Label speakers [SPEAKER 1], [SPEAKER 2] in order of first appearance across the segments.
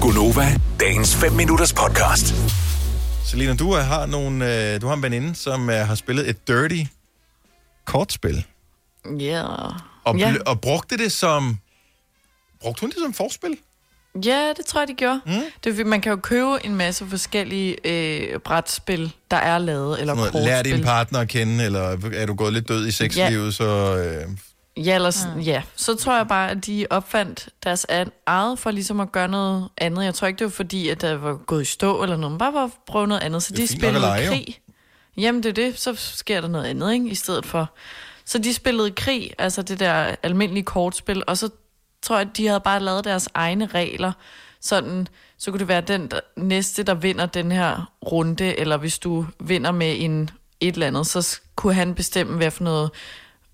[SPEAKER 1] Gunova, dagens 5 minutters podcast.
[SPEAKER 2] Selina, du øh, har, nogle, øh, du har en veninde, som øh, har spillet et dirty kortspil.
[SPEAKER 3] Yeah.
[SPEAKER 2] Og,
[SPEAKER 3] ja.
[SPEAKER 2] ja. og brugte det som... Brugte hun det som forspil?
[SPEAKER 3] ja, det tror jeg, de gjorde. Mm. Det er, fordi man kan jo købe en masse forskellige øh, brætspil, der er lavet, eller
[SPEAKER 2] Noget,
[SPEAKER 3] kortspil.
[SPEAKER 2] lær din partner at kende, eller er du gået lidt død i sexlivet, ja. så... Øh,
[SPEAKER 3] Ja, eller sådan, ja. ja, så tror jeg bare, at de opfandt deres an- eget for ligesom at gøre noget andet. Jeg tror ikke, det var fordi, at der var gået i stå eller noget, men bare for at prøve noget andet. Så
[SPEAKER 2] er
[SPEAKER 3] de
[SPEAKER 2] fint nok at
[SPEAKER 3] spillede
[SPEAKER 2] lege, jo.
[SPEAKER 3] krig. Jamen, det er det. Så sker der noget andet, ikke? I stedet for. Så de spillede krig, altså det der almindelige kortspil, og så tror jeg, at de havde bare lavet deres egne regler. Sådan, så kunne det være den der, næste, der vinder den her runde, eller hvis du vinder med en et eller andet, så s- kunne han bestemme, hvad for noget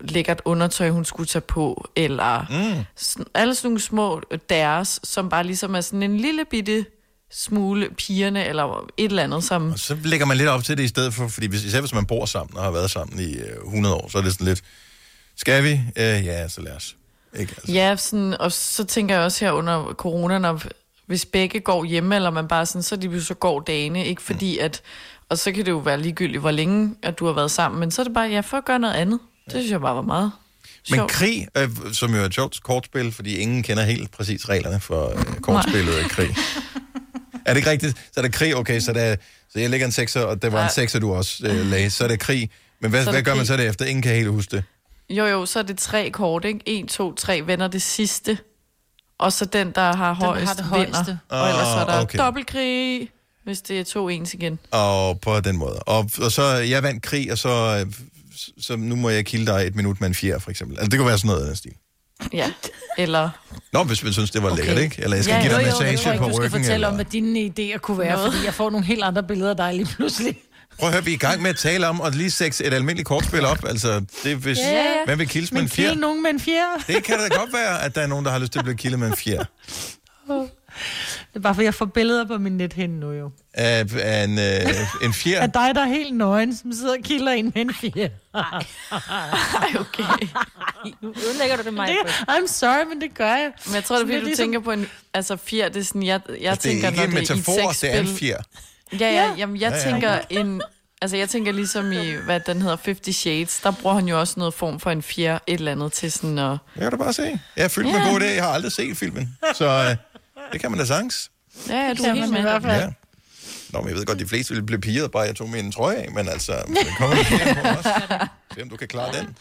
[SPEAKER 3] lækkert undertøj, hun skulle tage på, eller mm. sådan, alle sådan nogle små øh, deres, som bare ligesom er sådan en lille bitte smule pigerne, eller et eller andet, som...
[SPEAKER 2] og så lægger man lidt op til det i stedet for, fordi hvis, især hvis man bor sammen og har været sammen i øh, 100 år, så er det sådan lidt... Skal vi? Øh, ja, så lad os. Ikke, altså.
[SPEAKER 3] Ja, sådan, og så tænker jeg også her under corona, når, hvis begge går hjemme, eller man bare sådan, så er de så går dagene, ikke
[SPEAKER 2] Mm.
[SPEAKER 3] fordi at, og så kan det jo være ligegyldigt, hvor længe at du har været sammen, men så er det bare, ja, for at gøre noget andet. Det synes jeg bare var meget sjovt.
[SPEAKER 2] Men krig, øh, som jo er et sjovt kortspil, fordi ingen kender helt præcis reglerne for øh, kortspillet af krig. er det ikke rigtigt? Så er det krig, okay, så, der, så jeg lægger en sekser, og der var en
[SPEAKER 3] Nej.
[SPEAKER 2] sekser, du også øh, lagde. Så er det krig. Men hvad,
[SPEAKER 3] Så er
[SPEAKER 2] hvad
[SPEAKER 3] det
[SPEAKER 2] gør man
[SPEAKER 3] krig.
[SPEAKER 2] så derefter? Ingen kan helt huske det.
[SPEAKER 3] Jo, jo, så er det tre kort, ikke? En, to, tre vender det sidste. Og så den, der har højst,
[SPEAKER 4] har det
[SPEAKER 3] vinder.
[SPEAKER 4] højeste.
[SPEAKER 3] Og ellers så er der
[SPEAKER 2] Ah, okay.
[SPEAKER 3] okay. dobbeltkrig, hvis det er to ens igen.
[SPEAKER 2] Og på den måde. Og, og så, øh, jeg vandt krig, og så, øh, så nu må jeg kilde dig et minut med en fjer, for eksempel. Altså, det kunne være sådan noget af den stil.
[SPEAKER 3] Ja, eller...
[SPEAKER 2] Nå, hvis man synes, det var okay. lækkert, ikke? Eller jeg skal ja,
[SPEAKER 4] Ja,
[SPEAKER 2] give
[SPEAKER 4] jo,
[SPEAKER 2] dig en
[SPEAKER 4] jo, jeg tror
[SPEAKER 2] massage
[SPEAKER 4] ikke,
[SPEAKER 2] på
[SPEAKER 4] du skal
[SPEAKER 2] ryggen.
[SPEAKER 4] fortælle
[SPEAKER 2] Eller...
[SPEAKER 4] om, hvad dine idéer kunne være, fordi jeg får nogle helt andre billeder af dig lige pludselig.
[SPEAKER 2] Prøv at høre, vi er i gang med at tale om at lige sex et almindeligt kortspil op. Altså, det er, hvis,
[SPEAKER 4] Ja.
[SPEAKER 2] yeah. man vil kildes med
[SPEAKER 4] Men
[SPEAKER 2] en fjer.
[SPEAKER 4] kille nogen med en fjerde.
[SPEAKER 2] Det kan da godt være, at der er nogen, der har lyst til at blive kildet med en fjer.
[SPEAKER 4] Det er bare, fordi jeg får billeder på min nethinde nu jo.
[SPEAKER 2] Af, af en, øh, en fjer.
[SPEAKER 4] Af dig, der er helt nøgen, som sidder og kilder en med en fjerde.
[SPEAKER 3] Ej, okay.
[SPEAKER 5] Nu ødelægger du det, mig.
[SPEAKER 4] I'm sorry, men det gør jeg.
[SPEAKER 3] Men jeg tror, det er, fordi du
[SPEAKER 4] Sådan lidt ligesom-
[SPEAKER 3] tænker på en... Altså, fjer, det er sådan, jeg, jeg
[SPEAKER 2] Det
[SPEAKER 3] tænker,
[SPEAKER 2] er ikke en
[SPEAKER 3] når det er i et
[SPEAKER 2] metafor, det er en
[SPEAKER 3] sexspil.
[SPEAKER 2] fjer.
[SPEAKER 3] Ja, ja,
[SPEAKER 4] Ja.
[SPEAKER 3] jamen, jeg
[SPEAKER 2] Ja,
[SPEAKER 3] ja,
[SPEAKER 2] ja.
[SPEAKER 3] ja. tænker en... Altså, jeg tænker ligesom i, hvad den hedder, 50 Shades, der bruger han jo også noget form for en fjer, et eller andet til sådan at...
[SPEAKER 2] Det kan du bare se. Jeg er fyldt med
[SPEAKER 3] Ja.
[SPEAKER 2] gode idéer. Jeg har aldrig set filmen. Så øh, det kan man da sagtens.
[SPEAKER 3] Ja, ja, du er
[SPEAKER 4] kan
[SPEAKER 3] helt
[SPEAKER 4] man i
[SPEAKER 3] med.
[SPEAKER 4] hvert fald.
[SPEAKER 2] Ja. Nå, men jeg ved godt, de fleste ville blive piret, bare jeg tog min trøje af, men altså, det kommer lidt mere på os. Se, om du kan klare den.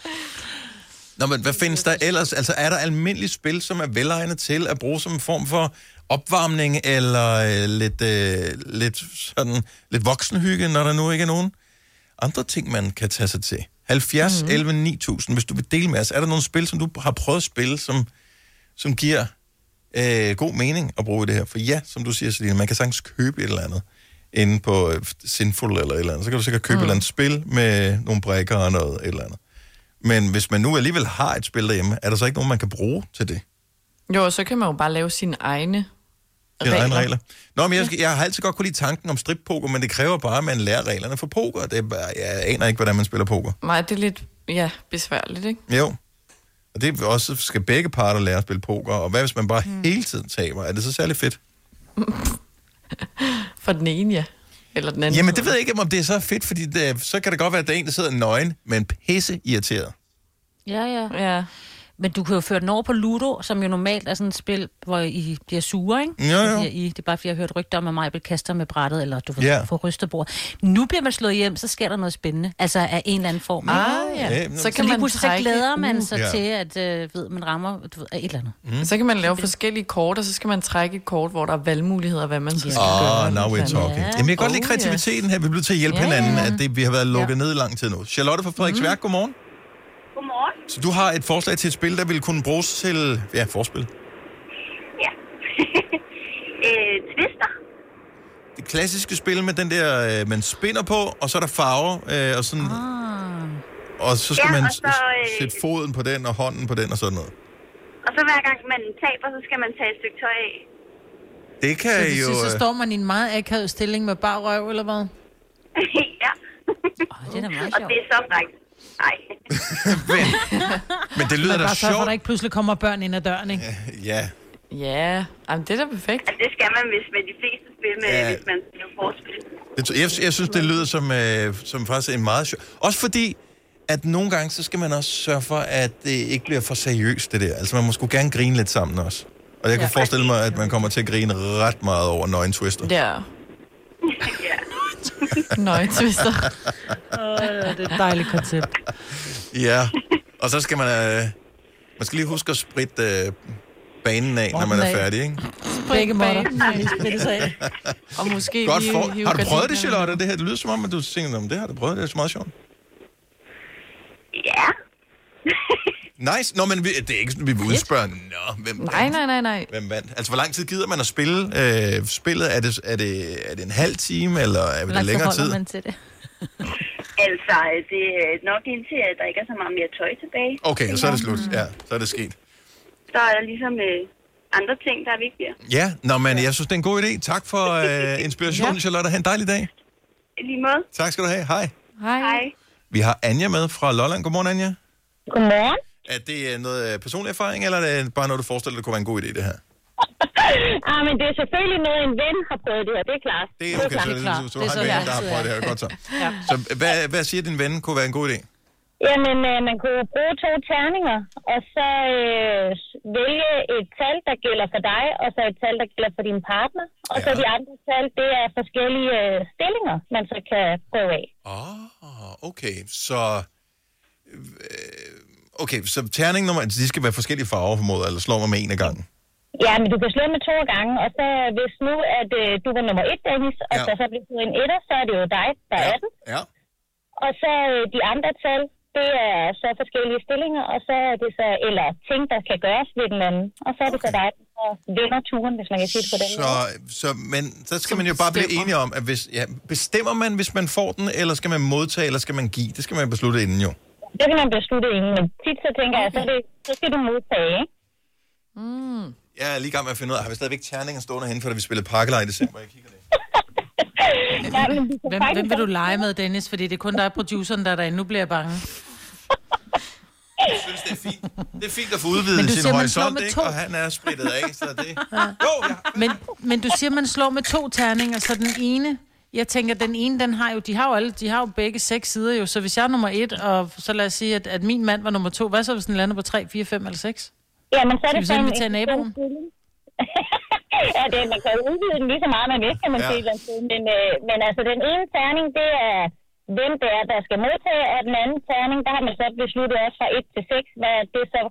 [SPEAKER 2] Nå, men hvad findes der ellers? Altså, er der almindelige spil, som er velegnet til at bruge som en form for opvarmning, eller øh, lidt, øh, lidt, sådan, lidt voksenhygge, når der nu ikke er nogen andre ting, man kan tage sig til? 70, mm 11, 9000, hvis du vil dele med os. Er der nogle spil, som du har prøvet at spille, som, som giver øh, god mening at bruge i det her. For ja, som du siger, Selina, man kan sagtens købe et eller andet inde på øh, Sinful eller et eller andet. Så kan du sikkert købe mm. et eller andet spil med nogle brækker og noget et eller andet. Men hvis man nu alligevel har et spil derhjemme, er der så ikke nogen, man kan bruge til det?
[SPEAKER 3] Jo, og så kan man jo bare lave sine egne
[SPEAKER 2] Dine egne regler. Nå, men jeg, skal, jeg har altid godt kunne lide tanken om strippoker, men det kræver bare, at man lærer reglerne for poker. Det er bare, jeg aner ikke, hvordan man spiller poker.
[SPEAKER 3] Nej, det er lidt, ja, besværligt, ikke?
[SPEAKER 2] Jo. Og det er også, skal begge parter lære at spille poker, og hvad hvis man bare mm. hele tiden taber? Er det så særlig fedt?
[SPEAKER 3] For den ene, ja. Eller den anden.
[SPEAKER 2] Jamen, det ved jeg ikke, om det er så fedt, fordi det, så kan det godt være, at der er en, der sidder nøgen, men pisse irriteret.
[SPEAKER 5] Ja, ja.
[SPEAKER 3] Ja.
[SPEAKER 5] Men du kan jo føre den over på Ludo, som jo normalt er sådan et spel, hvor I bliver sure, ikke?
[SPEAKER 2] Jo, jo.
[SPEAKER 5] Fordi I, det er bare, fordi jeg har hørt rygter om, at mig kaster med brættet, eller du får,
[SPEAKER 2] Ja.
[SPEAKER 5] yeah. får rystet bord. Nu bliver man slået hjem, så sker der noget spændende. Altså af en eller anden form. ikke?
[SPEAKER 3] Ah,
[SPEAKER 2] Ja,
[SPEAKER 3] ja.
[SPEAKER 2] men-
[SPEAKER 3] Så
[SPEAKER 5] så
[SPEAKER 3] kan
[SPEAKER 5] lige
[SPEAKER 3] man
[SPEAKER 5] pludselig så
[SPEAKER 3] trække, Mm.
[SPEAKER 5] glæder man sig
[SPEAKER 2] Ja.
[SPEAKER 5] til, at øh, ved, man rammer du ved, af et eller andet.
[SPEAKER 3] så kan man lave forskellige kort, og så skal man trække et kort, hvor der er valgmuligheder, hvad man så skal
[SPEAKER 2] Åh,
[SPEAKER 3] gøre.
[SPEAKER 2] oh, now we're talking.
[SPEAKER 5] Ja.
[SPEAKER 2] Jamen, jeg kan godt lide
[SPEAKER 3] Oh, ja.
[SPEAKER 2] kreativiteten her. Vi bliver til at hjælpe
[SPEAKER 3] Ja,
[SPEAKER 2] hinanden, at det, vi har været lukket ned i lang tid nu. Charlotte fra
[SPEAKER 4] Mhm.
[SPEAKER 2] Frederiksværk, godmorgen.
[SPEAKER 6] Godmorgen.
[SPEAKER 2] Så du har et forslag til et spil, der ville kunne bruges til... Ja, forspil.
[SPEAKER 6] Ja. øh, twister.
[SPEAKER 2] Det klassiske spil med den der, øh, man spinner på, og så er der farver, øh, og sådan...
[SPEAKER 4] Ah.
[SPEAKER 2] Og så skal
[SPEAKER 6] Ja,
[SPEAKER 2] man
[SPEAKER 6] og så, øh,
[SPEAKER 2] s- sætte foden på den, og hånden på den, og sådan noget.
[SPEAKER 6] Og så hver gang man taber, så skal man tage et stykke tøj af.
[SPEAKER 2] Det kan
[SPEAKER 4] Så
[SPEAKER 2] jo...
[SPEAKER 4] til sidst, så
[SPEAKER 2] øh,
[SPEAKER 4] står man i en meget akavet stilling med bare røv, eller hvad?
[SPEAKER 6] ja.
[SPEAKER 5] Åh, det er da meget
[SPEAKER 6] og
[SPEAKER 5] sjovt.
[SPEAKER 6] det er så frækt. Nej.
[SPEAKER 2] men, men det lyder
[SPEAKER 4] Men
[SPEAKER 2] da
[SPEAKER 4] bare så, at
[SPEAKER 2] sjovt.
[SPEAKER 4] der ikke pludselig kommer børn ind ad døren, ikke?
[SPEAKER 2] Ja,
[SPEAKER 3] Ja, Jamen, det er da perfekt.
[SPEAKER 6] Altså, det skal man, hvis med de fleste spil, med,
[SPEAKER 2] Ja.
[SPEAKER 6] ja. hvis man spiller forspil.
[SPEAKER 2] Det, tror- jeg, jeg synes, det lyder som, øh, som faktisk en meget sjov... Også fordi, at nogle gange, så skal man også sørge for, at det ikke bliver for seriøst, det der. Altså, man må sgu gerne grine lidt sammen også. Og jeg kan ja. forestille mig, at man kommer til at grine ret meget over Nøgen Twister. Ja.
[SPEAKER 3] Der.
[SPEAKER 6] ja.
[SPEAKER 3] Nøj, twister.
[SPEAKER 4] Øh, det er et dejligt koncept.
[SPEAKER 2] ja. Og så skal man... Øh, man skal lige huske at spritte øh, banen af, når man er
[SPEAKER 4] af.
[SPEAKER 2] færdig, ikke?
[SPEAKER 4] Begge måder.
[SPEAKER 3] banen. Og måske
[SPEAKER 2] Godt
[SPEAKER 3] lige
[SPEAKER 2] for...
[SPEAKER 3] hive
[SPEAKER 2] Har du prøvet det,
[SPEAKER 3] gardinerne.
[SPEAKER 2] Charlotte? Det her det lyder som om, at du tænker, om det har du prøvet, det er så meget sjovt.
[SPEAKER 6] Ja.
[SPEAKER 2] Nice. Nå, men vi, det er ikke sådan, vi vil udspørge, nå, hvem
[SPEAKER 3] Nej, nej, nej, nej.
[SPEAKER 2] Hvem vandt? Altså, hvor lang tid gider man at spille øh, spillet? Er det, er, det, er det en halv time, eller er det længere tid?
[SPEAKER 5] man til det?
[SPEAKER 6] Altså, det er nok indtil, at der ikke er så meget mere tøj tilbage.
[SPEAKER 2] Okay, og så er det slut. Ja, så er det sket.
[SPEAKER 6] Så er der ligesom øh, andre ting, der er vigtigere.
[SPEAKER 2] Ja, nå, men jeg synes, det er en god idé. Tak for øh, inspirationen, ja. Charlotte. Ha' en dejlig dag.
[SPEAKER 6] I Lige måde.
[SPEAKER 2] Tak skal du have. Hej.
[SPEAKER 3] Hej.
[SPEAKER 6] Hej.
[SPEAKER 2] Vi har Anja med fra Lolland. Godmorgen, Anja.
[SPEAKER 7] Godmorgen.
[SPEAKER 2] Er det øh, noget øh, personlig erfaring, eller er det bare noget, du forestiller dig, kunne være en god idé, det her?
[SPEAKER 7] ah, men det er selvfølgelig noget, en ven har prøvet det her, det er klart.
[SPEAKER 2] Det er okay, så,
[SPEAKER 5] det er klart.
[SPEAKER 2] så, så,
[SPEAKER 5] Det er
[SPEAKER 2] så har
[SPEAKER 5] sådan,
[SPEAKER 2] en ven,
[SPEAKER 5] jeg
[SPEAKER 2] der har
[SPEAKER 5] altid
[SPEAKER 2] prøvet det her. Godt så. ja. Så hvad, hvad siger din ven kunne være en god idé?
[SPEAKER 7] Jamen, øh, man kunne jo bruge to terninger, og så øh, vælge et tal, der gælder for dig, og så et tal, der gælder for din partner. Og ja. så
[SPEAKER 2] Ja.
[SPEAKER 7] de andre tal, det er forskellige øh, stillinger, man så kan prøve af.
[SPEAKER 2] Åh, oh, okay. Så... øh, Okay, så terning nummer... altså, De skal være forskellige farver, formoder, eller slår man med en af gangen.
[SPEAKER 7] Ja, men du kan slå med to gange, og så hvis nu, at øh, du var nummer et, Dennis, og
[SPEAKER 2] Ja.
[SPEAKER 7] ja. så, så bliver du en etter, så er det jo dig, der ja. er den.
[SPEAKER 2] ja.
[SPEAKER 7] Og så øh, de andre tal, det er så forskellige stillinger, og så er det så, eller ting, der kan gøres ved den anden. Og så er det okay. så dig, der vinder turen, hvis man kan sige det på den
[SPEAKER 2] Så,
[SPEAKER 7] måde.
[SPEAKER 2] så, men så skal man jo bare blive
[SPEAKER 3] bestemmer.
[SPEAKER 2] enige om, at hvis, ja, bestemmer man, hvis man får den, eller skal man modtage, eller skal man give? Det skal man beslutte inden jo.
[SPEAKER 7] Det kan man beslutte inden, men tit så tænker jeg, så, er det, så skal du modtage, ikke?
[SPEAKER 2] Jeg er lige i gang med at finde ud af, har vi stadigvæk terninger stående henne, for da vi spillede parkleje i december, jeg kigger det.
[SPEAKER 7] Ja, men du kan
[SPEAKER 4] Hvem,
[SPEAKER 7] faktisk
[SPEAKER 4] hvem vil du lege med, Dennis? Fordi det er kun dig, produceren, der er derinde. Nu bliver jeg bange.
[SPEAKER 2] Jeg synes, det er fint. Det er fint at få udvidet
[SPEAKER 4] Men du
[SPEAKER 2] sin
[SPEAKER 4] siger, man slår
[SPEAKER 2] horisont,
[SPEAKER 4] med
[SPEAKER 2] ikke?
[SPEAKER 4] to.
[SPEAKER 2] Og han er splittet af, så det... Jo, jeg...
[SPEAKER 4] Men, men du siger, man slår med to terninger, så den ene... Jeg tænker, den ene, den har jo, de har jo alle, de har jo begge seks sider jo, så hvis jeg er nummer et, og så lad os sige, at, at min mand var nummer to, hvad så, hvis den lander på tre, fire, fem eller seks?
[SPEAKER 7] Ja, men så er
[SPEAKER 4] Skal
[SPEAKER 7] det
[SPEAKER 4] vi så
[SPEAKER 7] sådan
[SPEAKER 4] invitere naboen?
[SPEAKER 7] stilling. ja, det, man kan jo udvide den lige så meget, man vil, kan man
[SPEAKER 2] Ja.
[SPEAKER 7] ja. sige. et eller andet sted. Men, øh, men altså, den ene terning, det er, hvem det er, der skal modtage, og den anden terning, der har man så besluttet også fra 1 til 6, hvad det så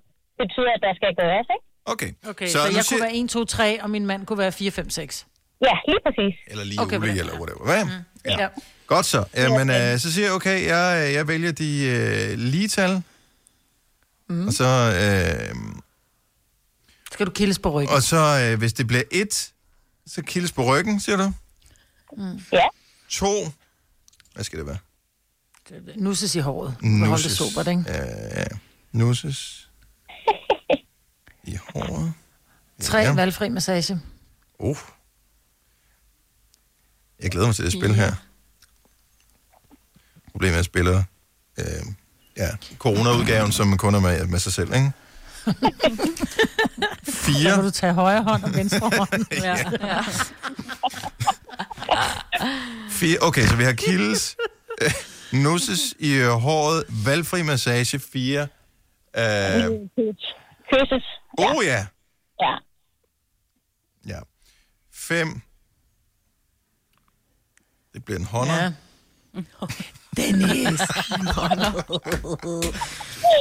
[SPEAKER 7] betyder, at der skal gøres, ikke?
[SPEAKER 2] Okay.
[SPEAKER 4] Okay, så, så
[SPEAKER 2] nu
[SPEAKER 4] jeg
[SPEAKER 2] siger-
[SPEAKER 4] kunne være 1, 2, 3, og min mand kunne være 4, 5, 6.
[SPEAKER 7] Ja, lige præcis.
[SPEAKER 2] Eller lige okay,
[SPEAKER 4] Okay, på
[SPEAKER 2] Uli,
[SPEAKER 4] den.
[SPEAKER 2] eller whatever. Hvad? Mm. Ja. ja.
[SPEAKER 4] Ja.
[SPEAKER 2] Godt så. Jamen, øh, så siger jeg, okay, jeg, jeg vælger de øh, lige tal.
[SPEAKER 4] Mm-hmm.
[SPEAKER 2] Mm. Og så, øh,
[SPEAKER 4] Skal du kildes på ryggen?
[SPEAKER 2] og så øh, hvis det bliver et, så kildes på ryggen, siger du.
[SPEAKER 4] Mm.
[SPEAKER 7] Ja.
[SPEAKER 2] To. Hvad skal det være?
[SPEAKER 4] Nusses i håret. Nusses. Hold det sobert, ikke?
[SPEAKER 2] Øh, nusses. I håret.
[SPEAKER 4] Tre
[SPEAKER 2] Ja.
[SPEAKER 4] ja. valgfri massage.
[SPEAKER 2] Uh. Jeg glæder mig til det spil her. Problemet er, at jeg spiller øh, ja, corona-udgaven, som man kun er med, med sig selv, ikke?
[SPEAKER 4] Så kan
[SPEAKER 2] Fire.
[SPEAKER 4] du tage højre hånd og venstre hånd.
[SPEAKER 5] Ja. ja.
[SPEAKER 2] fire. Okay, så vi har kildes, øh, nusses i øh, håret, valgfri massage, fire. Øh,
[SPEAKER 7] Kysses.
[SPEAKER 2] oh ja!
[SPEAKER 7] Ja.
[SPEAKER 2] Ja. Fem. Det bliver en hånder.
[SPEAKER 4] Ja.
[SPEAKER 5] Dennis.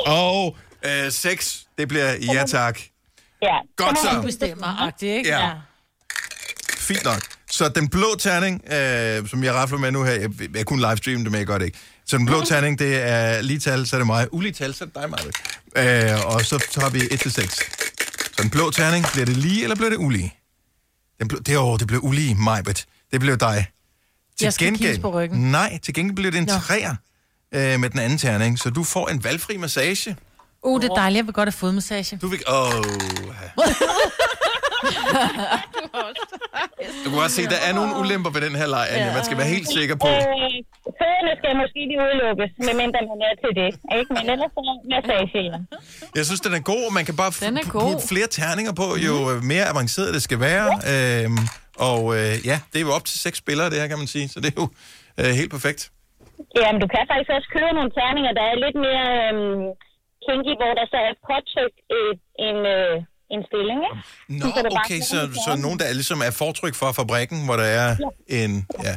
[SPEAKER 2] Og øh, seks. Det bliver ja tak.
[SPEAKER 7] ja.
[SPEAKER 2] Godt så.
[SPEAKER 4] Du bestemmer, agtig, ikke?
[SPEAKER 2] Ja. Fint nok. Så den blå terning, øh, som jeg rafler med nu her, jeg, jeg kunne livestreame det, men jeg gør det ikke. Så den blå terning, det er lige tal, så er det mig. Ulige tal, så er det dig, Maja. Øh, og så tager vi 1-6. Så den blå terning, bliver det lige, eller bliver det ulige? Den blå, det, åh, det blev ulige, Majbet. Det blev dig. Til
[SPEAKER 4] Jeg skal kigges på ryggen.
[SPEAKER 2] Nej, til gengæld blev det en træer øh, med den anden terning, så du får en valgfri massage.
[SPEAKER 4] Uh, det er dejligt. Jeg vil godt have fodmassage.
[SPEAKER 2] Du fik... Åh... Oh. du kan godt se, der er nogle ulemper ved den her leg, Anja. Man skal være helt sikker på.
[SPEAKER 7] Øh, føddernes skal måske lige udelukkes, medmindre man er til det. Ikke? Men ellers så massage, ja.
[SPEAKER 2] Jeg synes, den er god, og man kan bare f-
[SPEAKER 3] Den er
[SPEAKER 2] pu-
[SPEAKER 3] god.
[SPEAKER 2] putte flere terninger på, jo øh, mere avanceret det skal være. Øhm, og øh, ja, det er jo op til seks spillere, det her, kan man sige. Så det er jo øh, helt perfekt.
[SPEAKER 7] Jamen, du kan faktisk også købe nogle terninger, der er lidt mere øhm, kinky, hvor der så er påtrykt øh, en, øh, en stilling, ikke?
[SPEAKER 2] Nå,
[SPEAKER 7] Så er det bare
[SPEAKER 2] okay, så,
[SPEAKER 7] sådan en
[SPEAKER 2] så
[SPEAKER 7] terning.
[SPEAKER 2] nogen, der er ligesom er fortryk fra fabrikken, hvor der er en... Ja,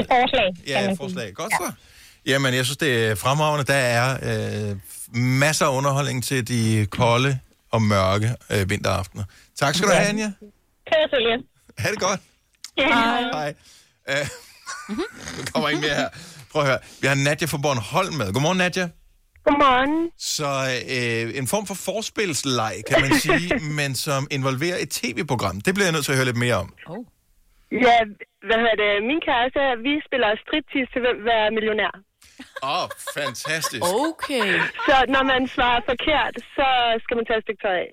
[SPEAKER 7] Et forslag, kan
[SPEAKER 2] ja
[SPEAKER 7] man
[SPEAKER 2] et
[SPEAKER 7] sige.
[SPEAKER 2] forslag. Godt så. Jamen, jeg synes, det er fremragende. Der er øh, masser af underholdning til de kolde og mørke øh, vinteraftener. Tak skal du have, Anja.
[SPEAKER 7] Kør til lidt.
[SPEAKER 2] Ha' det godt. Hej. Øh, nu kommer ikke mere her. Prøv at høre. Vi har Nadja fra Bornholm med. Godmorgen, Nadja.
[SPEAKER 8] Godmorgen.
[SPEAKER 2] Så øh, en form for forspilsleg, kan man sige, men som involverer et tv-program. Det bliver jeg nødt til at høre lidt mere om.
[SPEAKER 8] Ja, hvad hedder det? Min kæreste, vi spiller striptease til hvem vil være millionær.
[SPEAKER 2] Åh, oh, fantastisk.
[SPEAKER 3] Okay.
[SPEAKER 8] Så når man svarer forkert, så skal man tage et stykke tøj af.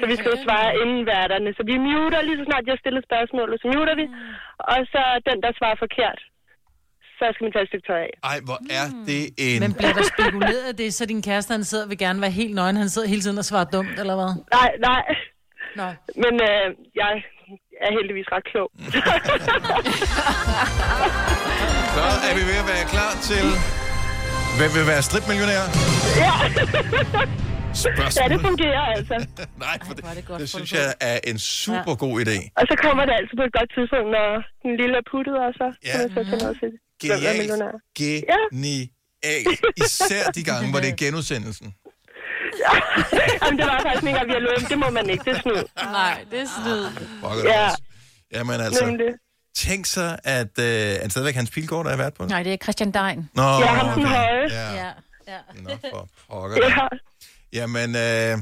[SPEAKER 8] Så vi skal jo svare inden værterne. Så vi muter lige så snart jeg stiller spørgsmålet, så muter vi. Og så den, der svarer forkert, så skal man tage et stykke tøj af.
[SPEAKER 2] Ej, hvor er det en...
[SPEAKER 4] Men bliver der spekuleret af det, så din kæreste, han sidder og vil gerne være helt nøgen. Han sidder hele tiden og svarer dumt, eller hvad?
[SPEAKER 8] Nej, nej.
[SPEAKER 4] Nå.
[SPEAKER 8] Men øh, jeg er heldigvis ret klog.
[SPEAKER 2] Så er vi ved at være klar til... Hvem vil være stripmillionær?
[SPEAKER 8] ja, det
[SPEAKER 2] Spørgsmål.
[SPEAKER 8] fungerer altså.
[SPEAKER 2] Nej, for det,
[SPEAKER 5] hvor er det
[SPEAKER 2] det,
[SPEAKER 5] godt
[SPEAKER 2] det synes jeg er en super god idé.
[SPEAKER 8] Og så kommer det altså på et godt tidspunkt, når den lille er puttet, og så
[SPEAKER 2] Ja.
[SPEAKER 8] kan man så tage noget til. Hvem er
[SPEAKER 2] Genialt.
[SPEAKER 8] millionær?
[SPEAKER 2] Genialt. Især de gange, hvor det er genudsendelsen.
[SPEAKER 8] Jamen, det var faktisk ikke, at vi har lovet. Det må man ikke. Det er snyd.
[SPEAKER 3] Nej, det er snyd.
[SPEAKER 2] Fuck
[SPEAKER 8] Ja.
[SPEAKER 2] ja. Jamen altså,
[SPEAKER 8] Nemlig.
[SPEAKER 2] tænk så, at øh, er det stadigvæk Hans Pilgaard, der er vært på det?
[SPEAKER 5] Nej, det er Christian Dein.
[SPEAKER 2] Nå,
[SPEAKER 8] Ja, ham den høje.
[SPEAKER 2] Ja,
[SPEAKER 5] Ja. ja.
[SPEAKER 2] nå for pokker.
[SPEAKER 8] Ja.
[SPEAKER 2] Jamen, øh, jeg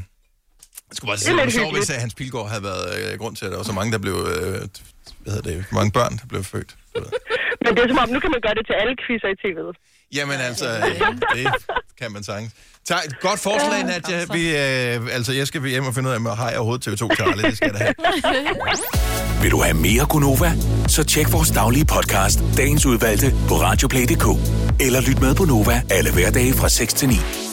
[SPEAKER 2] skulle bare sige,
[SPEAKER 8] Det
[SPEAKER 2] det
[SPEAKER 8] er lidt
[SPEAKER 2] var sjovt, hvis
[SPEAKER 8] hyggeligt.
[SPEAKER 2] øh, Hans Pilgaard havde været øh, grund til, at der var så mange, der blev, øh, hvad hedder det, mange børn, der blev født.
[SPEAKER 8] Men det er som om, nu kan man gøre det til alle quizzer i tv'et.
[SPEAKER 2] Jamen altså, øh, det kan man sagtens. Tak. Godt forslag, Nadja. Vi, øh, altså, jeg skal hjem og finde ud af, om jeg har overhovedet TV2 Charlie. Det skal jeg da have.
[SPEAKER 1] Vil du have mere Gunova? Så tjek vores daglige podcast, dagens udvalgte, på radioplay.dk. Eller lyt med på Nova alle hverdage fra 6 til 9.